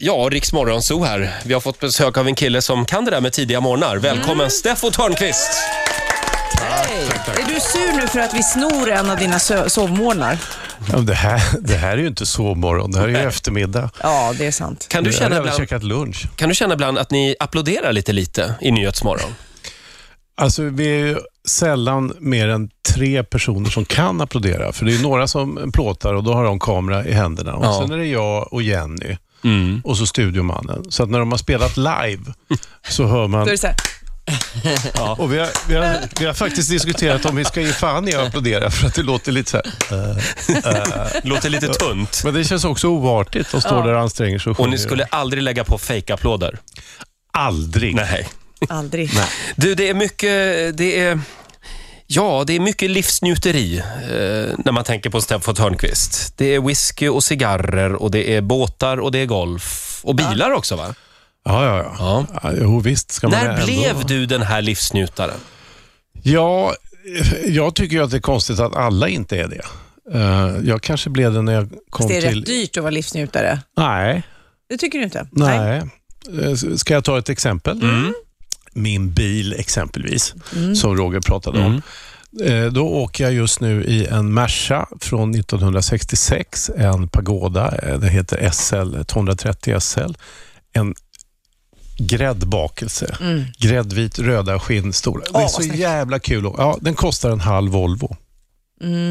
Ja, Riks Morgonzoo här. Vi har fått besök av en kille som kan det där med tidiga morgnar. Välkommen Steffo Törnqvist! Är du sur nu för att vi snor en av dina sö- sovmorgnar? Ja, men det, här, det här är ju inte sovmorgon, det här är ju eftermiddag. Ja, det är sant. Kan du, jag har känna även ibland, käkat lunch. kan du känna ibland att ni applåderar lite lite i Nyhetsmorgon? Alltså, vi är ju sällan mer än tre personer som kan applådera. För det är ju några som plåtar och då har de kamera i händerna. Och Ja. Mm. Sen är det jag och Jenny och så studiomannen. Så att när de har spelat live så hör Då är man... det så här, Och vi, har, vi, har, vi har faktiskt diskuterat om vi ska ge fan i att applådera för att det låter lite så här... eh. Låter lite tunt. Men det känns också oartigt att stå där och anstränger sig Och sjunger. ni skulle aldrig lägga på fejkapplåder? Aldrig. Nej. aldrig. Du, det är mycket... Det är, ja, det är mycket livsnjuteri eh, när man tänker på Steffo Törnqvist. Det är whisky och cigarrer och det är båtar och det är golf. Och bilar också va? Ja, ja, ja. Ja. ja. Jo, visst ska man När ändå- blev du den här livsnjutaren? Ja, jag tycker ju att det är konstigt att alla inte är det. Eh, Jag kanske blev det när jag Fast kom det är till... rätt dyrt att vara livsnjutare. Nej, Det tycker du inte? nej. Eh, s- Ska jag ta ett exempel? Min bil exempelvis, Mm. som Roger pratade om. Eh, Då åker jag just nu i en Merca från 1966, en Pagoda. eh, Den heter SL, 230 SL. En gräddbakelse. Gräddvit, röda skinn, stora. det Mm. Åh, är vad så snyggt. jävla kul. att- Ja, den kostar en halv Volvo.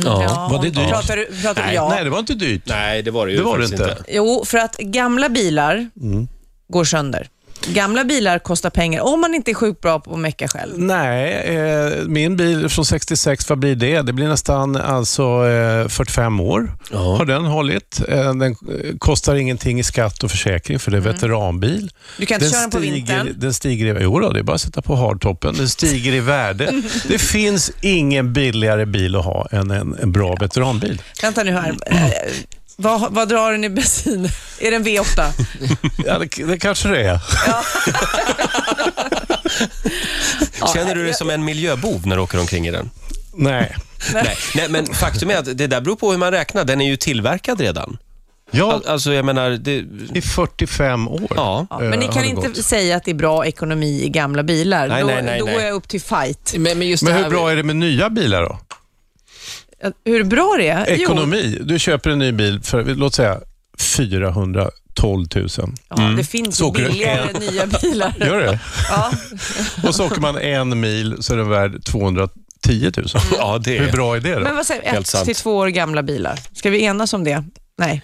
Ja. Var det dyrt? Pratar du, pratar du, Nej, ja. Nej, det var inte dyrt. Nej, det var det ju Det var det faktiskt inte. Jo, för att gamla bilar Mm. går sönder. Gamla bilar kostar pengar om man inte är sjukt bra på att mecka själv. Nej, eh, min bil från 66, vad blir det? Det blir nästan alltså, eh, 45 år Ja. har den hållit. Eh, den eh, kostar ingenting i skatt och försäkring för det är veteranbil. Du kan inte köra den på stiger, vintern. den stiger i, jo då, det är bara att sätta på hardtoppen. Den stiger i värde. det finns ingen billigare bil att ha än en, en bra veteranbil. Vänta nu här. Eh, Vad, vad drar den i bensin? Är det en V8? Ja, det, det kanske det är. Ja, Känner du dig som en miljöbov när du åker omkring i den? Nej. Nej. Nej, men faktum är att det där beror på hur man räknar. Den är ju tillverkad redan. Ja, Al- Alltså, jag menar... Det, i 45 år. ja. Ja, men ni Eh, kan har det inte gått. säga att det är bra ekonomi i gamla bilar. Nej, då nej, nej, då nej. är jag upp till fight. Men, men just Men det hur här- bra är det med nya bilar då? Hur bra det är? Jo, Ekonomi. Du köper en ny bil för, låt säga, 412 000. Ja, Mm. Det finns ju Så åker du- billigare nya bilar. Gör det? Ja. Och så åker man en mil så är den värd 210 000. ja, det Hur är... bra är det Mm. Men då? vad säger Helt sant. ett till två år gamla bilar? Ska vi enas om det? Nej.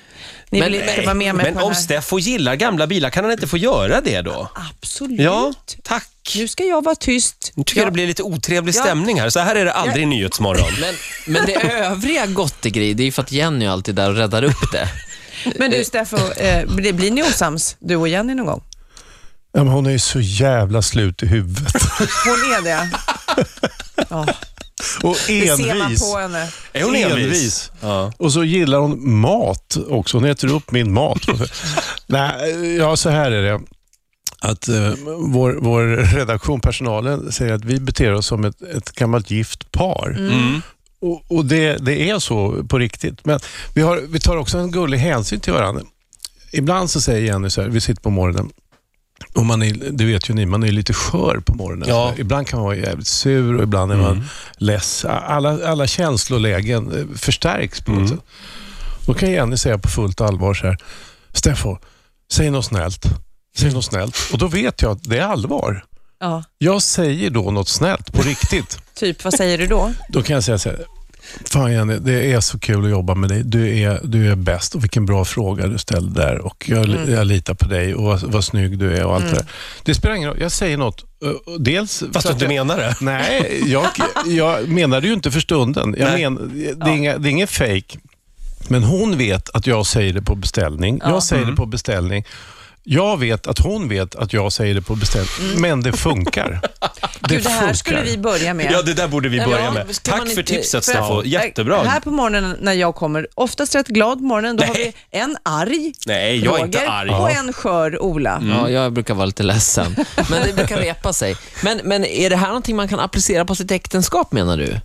Ni Men vill inte nej. vara med mig Men på den om här? Steffo gillar gamla bilar, kan han inte få göra det då? Absolut. Ja, tack. Nu ska jag vara tyst. Nu tycker jag det blir lite otrevlig stämning här. Så här är det aldrig i Nyhetsmorgon. Men, men det övriga Gottegry, det är ju för att Jenny alltid är där och räddar upp det. Men du Steffo, eh, blir- blir ni osams, du och Jenny någon gång? Ja, men hon är ju så jävla slut i huvudet. Hon är det? Ja, Och det ser man envis. på henne. Är hon envis? Ja. Och så gillar hon mat också. Hon äter upp min mat. Nej, ja, så här är det. Att eh, vår, vår redaktion, personalen, säger att vi beter oss som ett, ett gammalt gift par. Och, och det, det är så på riktigt. Men vi, har, vi tar också en gullig hänsyn till varandra. Ibland så säger Jenny så här, vi sitter på morgonen och man är, det vet ju ni, man är lite skör på morgonen. Ja. Så Ibland kan man vara jävligt sur och ibland är man less. Alla, alla känslolägen eh, förstärks på något Mm. sätt. Då kan Jenny säga på fullt allvar så här, Steffo, säg något snällt. Säg något snällt. Och då vet jag att det är allvar. Ja, Jag säger då något snällt på riktigt. typ, vad säger du då? Då kan jag säga så här. Fan Jenny, det är så kul att jobba med dig. Du är, du är bäst och vilken bra fråga du ställde där. Och jag, Mm. jag litar på dig och vad, vad snygg du är och allt det där. Det spelar ingen roll. Jag säger något. eh, och Dels... Fast du för att inte jag- menar det. Nej, jag, jag menar det ju inte för stunden. Jag Nej. men, det, är inga, det är ingen fake. Men hon vet att jag säger det på beställning. Jag säger Mm. det på beställning. Jag vet att hon vet att jag säger det på beställning. Men det funkar. Det, Mm. Gud, det här funkar. skulle vi börja med. Ja, det där borde vi Nej, börja men med. ska man Tack för inte- tipset, För- Steffo. Eh, Här Jättebra. på morgonen när jag kommer, oftast rätt glad på morgonen, då har vi Nej. en arg Nej, jag är inte Roger arg. och en skör Ola. Mm. Ja, jag brukar vara lite ledsen. Men det brukar repa sig. Men, men är det här någonting man kan applicera på sitt äktenskap, menar du?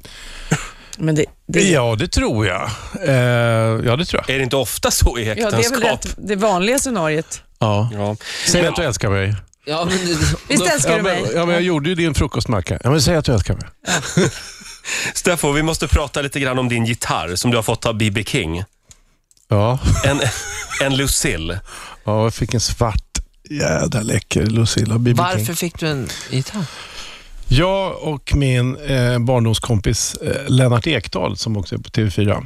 Men det, det, Ja, det tror jag. Eh, ja, det tror jag. Är det inte ofta så i ja, det är väl äktenskap? rätt, det vanliga scenariet. Ja. Ja. Säg att du älskar mig. Ja, men, Visst älskar Ja, du men, mig? ja, men jag gjorde ju din frukostmacka. Ja, men säg att du älskar mig. Steffo, vi måste prata lite grann om din gitarr som du har fått av B.B. King. Ja. En, en Lucille. ja, jag fick en svart jädra läcker Lucilla BB Varför fick du en gitarr? Jag och min eh, barndomskompis eh, Lennart Ekdahl, som också är på TV4,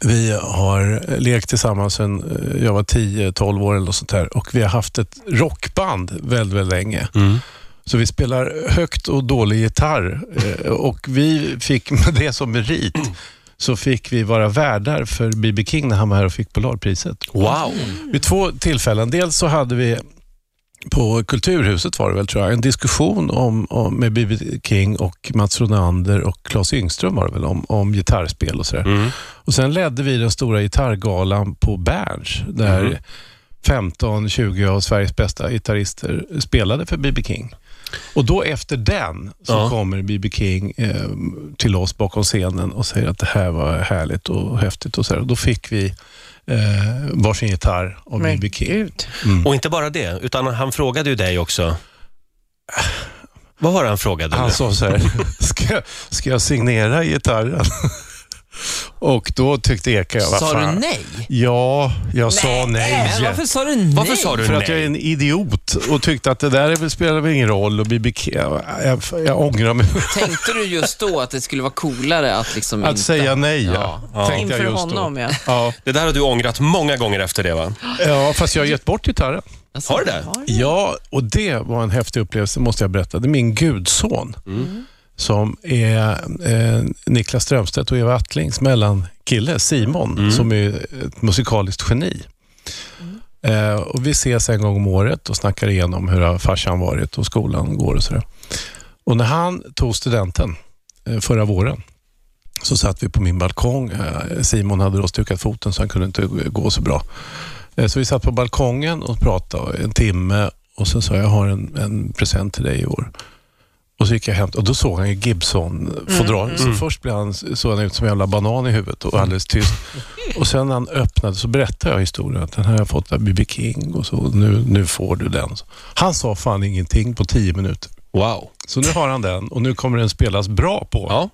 vi har eh, lekt tillsammans sedan eh, jag var 10-12 år eller något sånt här och vi har haft ett rockband väldigt, väldigt länge. Så vi spelar högt och dålig gitarr eh, och vi fick med det som merit så fick vi vara värdar för B.B. King när han var här och fick Polarpriset. Wow! Vid två tillfällen. Dels så hade vi på Kulturhuset var det väl tror jag, en diskussion om, om, med B.B. King och Mats Ronander och Claes Yngström var det väl, om, om gitarrspel och sådär. Mm. Och sen ledde vi den stora gitarrgalan på Berns där Mhm. 15-20 av Sveriges bästa gitarrister spelade för B.B. King. Och då efter den så Ja. kommer B.B. King eh, till oss bakom scenen och säger att det här var härligt och häftigt och så här. Och då fick vi eh, varsin gitarr av Men B.B. King. Mm. gud. Och inte bara det, utan han frågade ju dig också. Vad var det han frågade? Han sa så här, ska, ska jag signera gitarren? Och då tyckte Eka, jag, vad Sa fan. du nej? Ja, jag sa nej. Men varför sa du nej? Varför sa du För nej? att jag är en idiot och tyckte att det där är väl- spelar väl ingen roll och BB King, jag, jag, jag ångrar mig Tänkte du just då att det skulle vara coolare att liksom att inte... säga nej. Ja. Ja. Tänkte Inför jag just då. honom, ja. Ja. Det där har du ångrat många gånger efter det, va? ja, fast jag har gett bort gitarren. Alltså, Har du det? Ja, och det var en häftig upplevelse måste jag berätta. Det är min gudson som är eh, Niklas Strömstedt och Eva Attlings mellankille Simon som är ett musikaliskt geni. Eh, och vi ses en gång om året och snackar igenom hur har farsan varit och skolan går och sådär. Och när han tog studenten eh, förra våren så satt vi på min balkong. Eh, Simon hade då stukat foten så han kunde inte gå så bra. Eh, Så vi satt på balkongen och pratade en timme och sen sa jag, jag har en, en present till dig i år. Och så gick jag hem och då såg han ju Gibson-fodralen. Så först blev han, såg han ut som en jävla banan i huvudet och alldeles tyst. Och sen när han öppnade så berättade jag historien. Att den här har jag fått av B.B. King och så nu, nu får du den. Han sa fan ingenting på tio minuter. Wow. Så nu har han den och nu kommer den spelas bra på. Ja,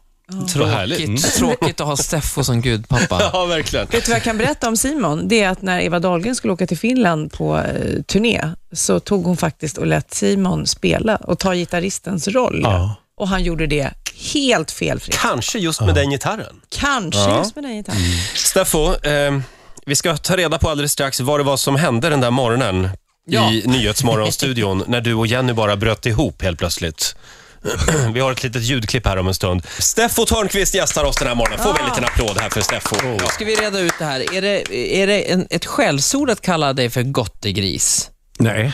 vad härligt. Mm. Tråkigt, tråkigt att ha Steffo som gudpappa. Ja, verkligen. Vet du vad jag kan berätta om Simon? Det är att när Eva Dahlgren skulle åka till Finland på eh, turné så tog hon faktiskt och lät Simon spela och ta gitarristens roll. Ja. Och han gjorde det helt felfritt. Kanske just med den gitarren. Kanske Ja. just med den gitarren. Mm. Steffo, eh, vi ska ta reda på alldeles strax vad det var som hände den där morgonen Ja. i Nyhetsmorgonstudion när du och Jenny bara bröt ihop helt plötsligt. Vi har ett litet ljudklipp här om en stund. Steffo Törnqvist gästar oss den här morgonen. Får vi en liten applåd här för Steffo? Då ska vi reda ut det här. Är det, är det en, ett skällsord att kalla dig för gottegris? Nej.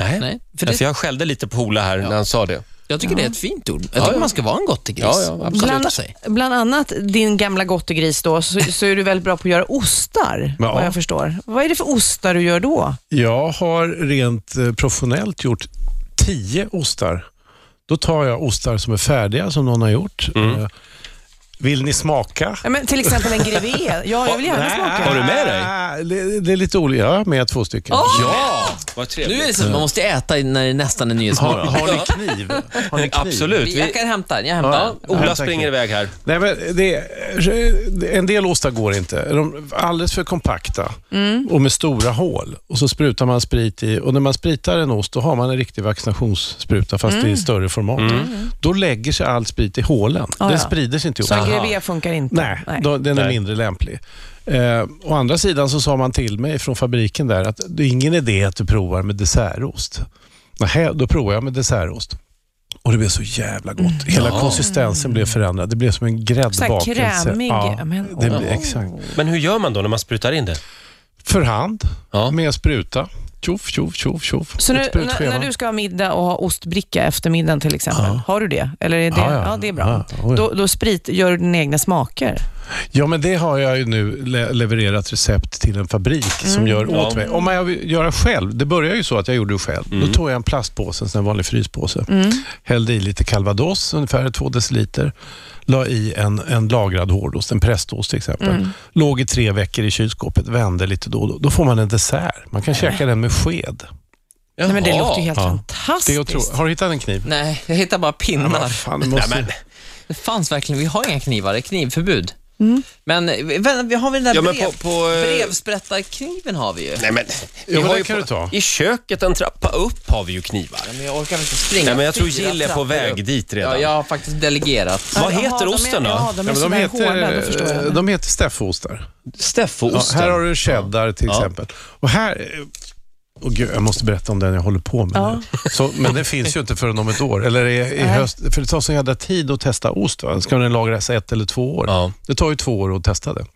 Nej, Nej, för för det- jag skällde lite på Ola här när han sa det. Jag tycker det är ett fint ord. Jag tycker man ska vara en gottegris. Ja, ja, absolut. Sluta Bland, sig. bland annat din gamla gottegris då, så, så är du väldigt bra på att göra ostar, Ja. vad jag förstår. Vad är det för ostar du gör då? Jag har rent eh, professionellt gjort tio ostar. Då tar jag ostar som är färdiga, som någon har gjort. Mm. Eh, Vill ni smaka? Ja, men till exempel en grevé. Ja, jag vill gärna smaka. Har du med dig? Ah, Det, det är lite olika. Jag har med två stycken. Ja, vad Nu trevligt. är det så att man måste äta när det nästan är Har, nyhetsmorgon. har ni kniv? Har ni kniv? Absolut. Jag Vi, kan hämta den. Jag hämtar. Ja. den. Oh, Ola Ja, tack. springer iväg här. Nej, men det, en del ostar går inte. De är alldeles för kompakta Mm. och med stora hål. Och så sprutar man sprit i. Och när man spritar en ost, då har man en riktig vaccinationsspruta, fast Mm. i större format. Då lägger sig all sprit i hålen. Ah, Den Mm. ja. sprider sig inte ihop. Så en grevé funkar inte? typ- Nej, Då, den är Nej. mindre lämplig. Eh, å andra sidan så sa man till mig från fabriken där att det är ingen idé att du provar med dessertost. Nej, då provar jag med dessertost. Och det blev så jävla gott. Hela konsistensen blev förändrad. Det blev som en Mm. Så här gräddbakelse. krämig. Ja, Ja, men, det blev, åh. exakt. Men hur gör man då när man sprutar in det? För hand, Ja. med spruta. Tjoff, tjoff, tjoff, tjoff. Så Ett nu, när, sprutschema. när du ska ha middag och ha ostbricka efter middagen till exempel, har du det? Eller är det, Ja, ja, ja. det är bra. Ja, oj. Då, då sprit, gör du dina egna smaker? Ja, men det har jag ju nu le- levererat recept till en fabrik Mm. som gör åt mig. Om jag vill göra själv, det började ju så att jag gjorde det själv. Mm. Då tog jag en plastpåse, en sån här vanlig fryspåse. Hällde i lite calvados, ungefär två deciliter. La i en, en lagrad hårdost, en prästost till exempel. Mm. Låg i tre veckor i kylskåpet, vände lite då och då. Då får man en dessert. Man kan käka den med sked. Nej, men det Jaha. låter ju helt Ja. Det är fantastiskt. otro- Har du hittat en kniv? Nej, jag hittar bara Ja, pinnar. vad fan, det måste... Nej, men, Det fanns verkligen, vi har inga knivar, det är knivförbud. Men eh, vä- vi har vi den där Ja, men brev, på- på, eh, brevsprättarkniven har vi ju. nej, men, vi men har det ju kan du ta. I köket en trappa upp har vi ju knivar. Ja, men jag orkar inte springa. Nej, men jag tror fyra Jill är på trappor väg upp. dit Ja, redan. jag har faktiskt delegerat. Vad Jaha, heter de är- osten Ja, då? de är Ja, men de sådär hårda, då förstår heter, jag. de heter Steffostar. Ja, Steffoosten. här har du cheddar till Ja. exempel. Och här... Oh gud, jag måste berätta om den jag håller på med Ja. nu. Så, men den finns ju inte förrän om ett år, eller i, i höst. För det tar så jävla tid att testa ost. Va? Ska den lagras ett eller två år? Ja. Det tar ju två år att testa det.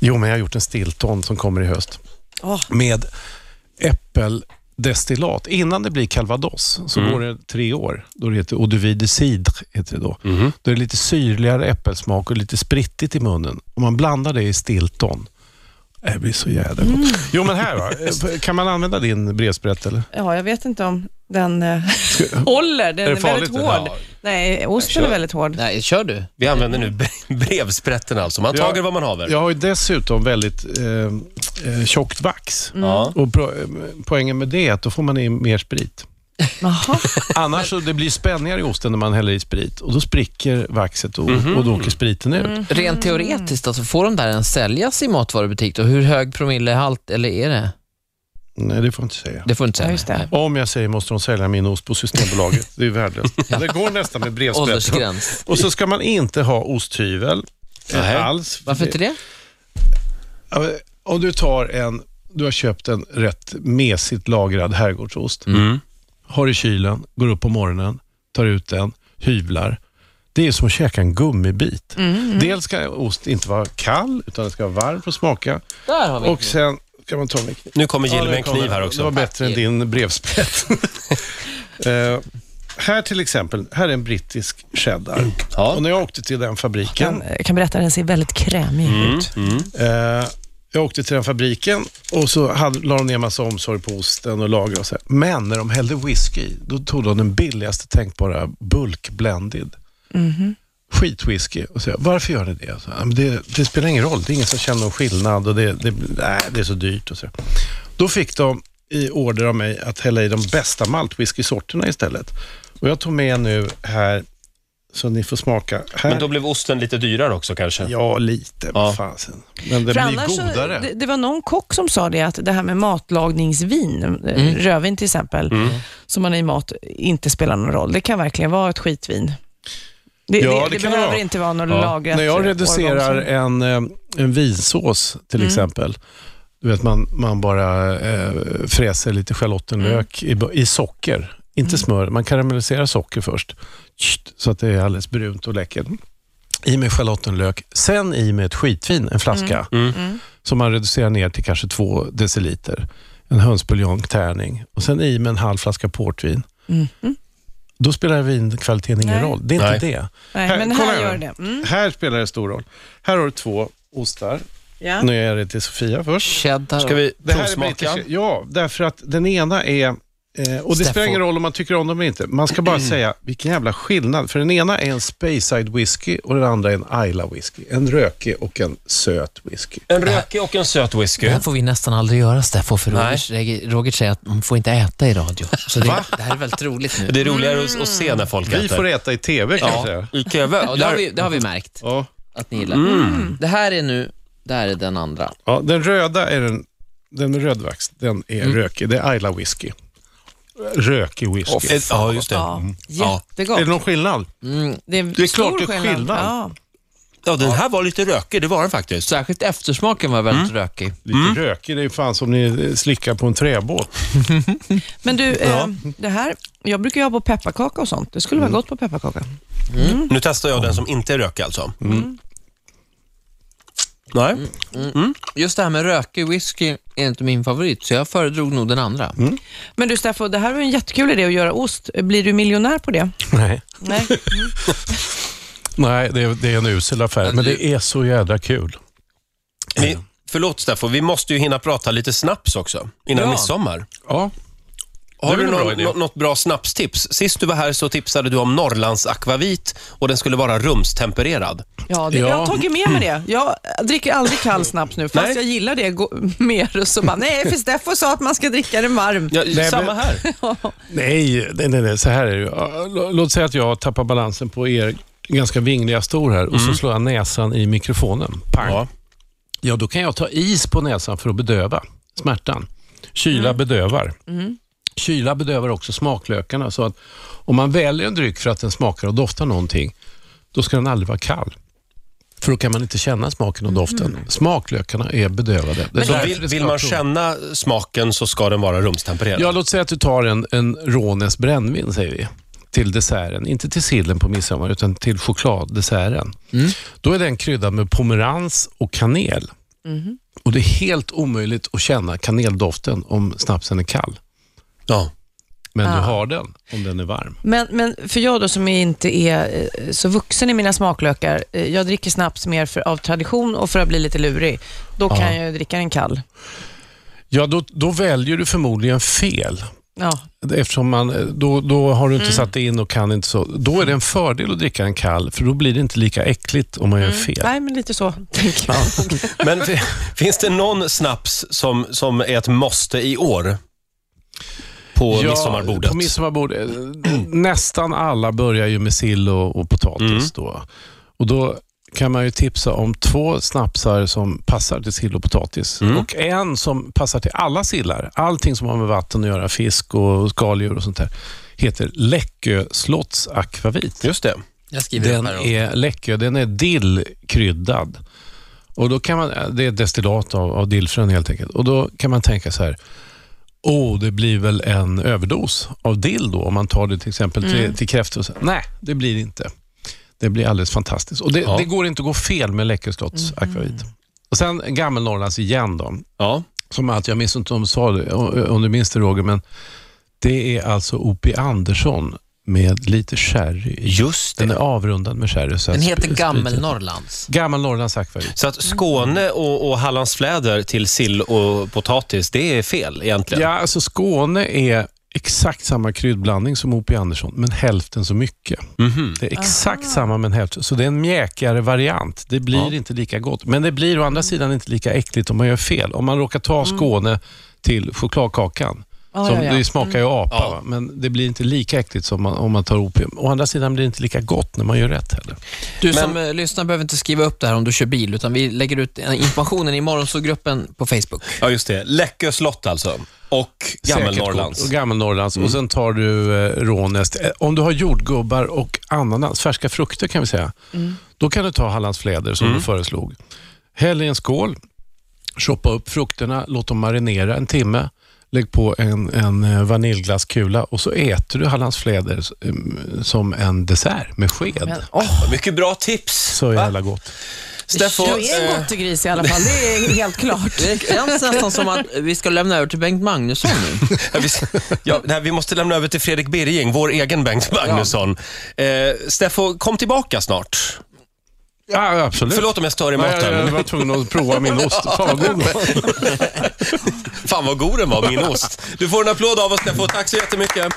Jo, men jag har gjort en stilton som kommer i höst Åh, med äppeldestillat. Innan det blir calvados så går det tre år. Då det heter eau de vie de cidre. Heter det då. då är det lite syrligare äppelsmak och lite sprittigt i munnen. Om man blandar det i stilton. Äh, Det blir så jävla gott. Jo, men här va? Kan man använda din brevsprätt eller? ja, jag vet inte om den eh, håller. Den Är är, det väldigt farligt? hård. Ja. Nej, osten är väldigt hård. Nej, kör du. Vi använder nu bre- brevsprätten alltså. Man Ja. tager vad man haver. Jag har ju dessutom väldigt eh, eh, tjockt vax. Mm. Ja. Och pro- eh, poängen med det är att då får man in mer sprit. Jaha. Annars så det blir spänningar i osten när man häller i sprit och då spricker vaxet och, och då åker spriten ut. Mm. Rent teoretiskt, alltså, får de där ens säljas i matvarubutik? Och hur hög promillehalt, eller är det? Nej, det får jag inte säga. Det får du inte säga. Ja, just det. Nej. Om jag säger måste de sälja min ost på Systembolaget. Det är värdelöst. Men Det går nästan med brevsprätt. Åldersgräns. Och så ska man inte ha osthyvel eh, Nej. alls. Varför inte det? Ja, men Om du tar en, du har köpt en rätt mesigt lagrad herrgårdsost, har i kylen, går upp på morgonen, tar ut den, hyvlar. Det är som att käka en gummibit. Mm, Dels ska ost inte vara kall, utan den ska vara varm för att smaka. Där har vi Och sen kan man ta med kniv. Nu kommer Jill Ja, med det en kommer. kniv här Det var också. bättre än din brevsprätt. Eh, här till exempel, här är en brittisk cheddar. Ja. Och när jag åkte till den fabriken, Kan, kan berätta, den ser väldigt krämig Mm. ut. Mm. eh, jag åkte till den fabriken och så hade, la de ner massa omsorg på osten och lagrade och så. här. Men när de hällde whisky i, då tog de den billigaste tänkbara bulk blended. Mhm. Skitwhisky. Och så, här, varför gör ni det? Så, här, "Ja, men det? Det spelar ingen roll, det är ingen som känner någon skillnad och det, det, nej, det är så dyrt. Och så. här. Då fick de i order av mig att hälla i de bästa maltwhisky-sorterna istället. Och jag tog med nu här, så ni får smaka. Här, Men då blev osten lite dyrare också kanske. Ja, lite. Ja. Ja. Fasen. Men det För blir annars så- godare. det, det var någon kock som sa det, att det här med matlagningsvin, mm. rödvin till exempel, Mm. som man har i mat, inte spelar någon roll. Det kan verkligen vara ett skitvin. Det, Ja, det, det det, kan det behöver vara. inte vara något Ja. lagrat. När jag årgång reducerar som- en, eh, en vinsås till exempel, du vet man, man bara eh, fräser lite schalottenlök i, bo- i socker, inte smör. Man karamelliserar socker först, Tjst, så att det är alldeles brunt och läckert. I med schalottenlök, sen i med ett skitvin, en flaska, som man reducerar ner till kanske två deciliter. En hönsbuljong, tärning och sen i med en halv flaska portvin. Då spelar vinkvaliteten ingen Nej. roll. Det är inte Nej. det. Nej, men kolla här här. gör det. Mm. Här spelar det stor roll. Här har du två ostar. Ja. Nu är det till Sofia först. Cheddar. Ska vi Det här är provsmaka? brittiska- Ja, därför att den ena är... eh, Och det Stafford. spelar ingen roll om man tycker om dem eller inte. Man ska bara säga vilken jävla skillnad. För den ena är en Speyside whisky och den andra är en Isla whisky. En rökig och en söt whisky. En rökig och en söt Det whisky. här får vi nästan aldrig göra Steffo, för Nej. Roger, Roger säger att man får inte äta i radio. Så det, det här är väldigt roligt nu. Det är roligare att- att se när folk Vi får äter. äta i TV kan jag Ja, säga. i TV. Ja, det, har vi, det har vi märkt Ja. att ni gillar. Det här är nu, det här är den andra. Ja, den röda är den, den med rödvax. Den är rökig. Det är Isla whisky. Rökig whisky. Ett- Ja, just det. Mm. Ja, Ja. jättegott. är det någon skillnad? Det är, klart stor det är skillnad. Ja. Ja, den här var lite rökig, det var den faktiskt. Särskilt eftersmaken var väldigt rökig. Lite rökig. Det är fan som ni eh, slickar på en träbåt. Men du, eh, det här, jag brukar ju ha på pepparkaka och sånt. Det skulle Mm. vara gott på pepparkaka. Mm. Nu testar jag den som inte är rökig alltså. Mm. Nej, Just det här med rökig whisky är inte min favorit, så jag föredrog nog den andra. Men du Steffo, det här var ju en jättekul idé att göra ost. Blir du miljonär på det? Nej. Nej. Nej, det är, det är en usel affär, men det är så jädra kul. Vi, förlåt Staffan, vi måste ju hinna prata lite snaps också innan Ja. midsommar. Ja, Har Det är du väl en någon, bra idé. nå- något bra snapstips? Sist du var här så tipsade du om Norrlands akvavit och den skulle vara rumstempererad. Ja, det, Ja. jag har tagit med mig det. Jag dricker aldrig kall snaps nu, fast Nej. jag gillar det gå- mer. Så bara, nej, för Steffo sa att man ska dricka den varm. Ja, men- samma här. Nej, nej, nej, nej, så här är det ju. Lå- Låt säga att jag tappar balansen på er ganska vingliga stor här och så slår jag näsan i mikrofonen. Pang. Ja. Mm. Ja. då kan jag ta is på näsan för att bedöva smärtan. Kyla Mm. bedövar. Kyla bedövar också smaklökarna. Så att om man väljer en dryck för att den smakar och doftar någonting, då ska den aldrig vara kall. För då kan man inte känna smaken och doften. Smaklökarna är bedövade. Det är Så därför Mm. vill, det ska vill vara man prov. känna smaken så ska den vara rumstempererad. Ja, låt säga att du tar en, en Rånäs brännvin, säger vi, till desserten. Inte till sillen på midsommar, utan till chokladdesserten. Då är den kryddad med pomerans och kanel. Och Det är helt omöjligt att känna kaneldoften om snapsen är kall. Ja. Men Ah. du har den om den är varm. Men, men för jag då som inte är eh, så vuxen i mina smaklökar, eh, jag dricker snaps mer för, av tradition och för att bli lite lurig. Då kan Ja. jag ju dricka den kall. Ja, då, då väljer du förmodligen fel. Ja. Eftersom man, eh, då, då har du inte satt det in och kan inte så. Då är det en fördel att dricka en kall, för då blir det inte lika äckligt om man gör fel. Nej, men lite så tänker jag. Men fi- finns det någon snaps som, som är ett måste i år? På midsommarbordet? På midsommarbordet. Nästan alla börjar ju med sill och, och potatis. Mm. Då. Och då kan man ju tipsa om två snapsar som passar till sill och potatis. Mm. Och en som passar till alla sillar. Allting som har med vatten att göra, fisk och skaldjur och sånt där, heter Läckö slotts akvavit. Just det. Jag skriver Den upp här. Är... är Läckö, den är dillkryddad. Och då kan man, det är ett destillat av, av dillfrön helt enkelt. Och då kan man tänka så här, åh, det blir väl en överdos av dill då, om man tar det till exempel Mm. till, till kräftor. och så." Nej, det blir det inte. Det blir alldeles fantastiskt. Och det, Ja. Mm. det går inte att gå fel med Läckö slotts akvavit. Och sen Gammelnorrlands igen då Ja. som allt, jag minns inte om, du sa det, om du minns det Roger, men det är alltså O.P. Andersson med lite sherry i. Just Den är avrundad med sherry. så Den att heter sprit- Gammelnorrlands. Gammal Norrlands akvavit. Så att Skåne och, och Hallandsfläder till sill och potatis, det är fel egentligen? Ja, alltså Skåne är exakt samma kryddblandning som O.P. Andersson, men hälften så mycket. Mhm. Det är exakt samma, men hälften. Så det är en mjäkigare variant. Det blir Ja. inte lika gott, men det blir å andra sidan inte lika äckligt om man gör fel. Om man råkar ta Skåne till chokladkakan, Mm. Ja, Som, ja, Mm. ja. Det smakar ju apa, Ja. va? men det blir inte lika äckligt som man, om man tar opium. Å andra sidan blir det inte lika gott när man gör rätt heller. Du som eh, lyssnar behöver inte skriva upp det här om du kör bil, utan vi lägger ut eh, informationen i morgonsågruppen på Facebook. Ja, just det. Läckö slott alltså. Och Säkert Gammelnorrlands. gott. Och Gammelnorrlands. Och sen tar du eh, rånäst. Eh, Om du har jordgubbar och ananas, färska frukter kan vi säga, då kan du ta Hallandsfläder Mm. som du föreslog. Häll i en skål, choppa upp frukterna, låt dem marinera en timme. Lägg på en, en eh, vaniljglasskula och så äter du Hallandsfläder s- em, som en dessert med sked. Men, åh, Mycket bra tips. Så Va? jävla gott. Steffo, du är en eh, gottegris i alla fall, det är helt klart. Det känns nästan som att vi ska lämna över till Bengt Magnusson nu. ja, vi, ja, nej, vi måste lämna över till Fredrik Birging, vår egen Bengt Magnusson. Eh, Steffo, kom tillbaka snart. Ja, absolut. Förlåt om jag stör i Nej, jag, jag maten. var tvungen att prova min ost. Fan, vad god. Fan vad god den var, min ost. Du får en applåd av oss Steffo. Tack så jättemycket.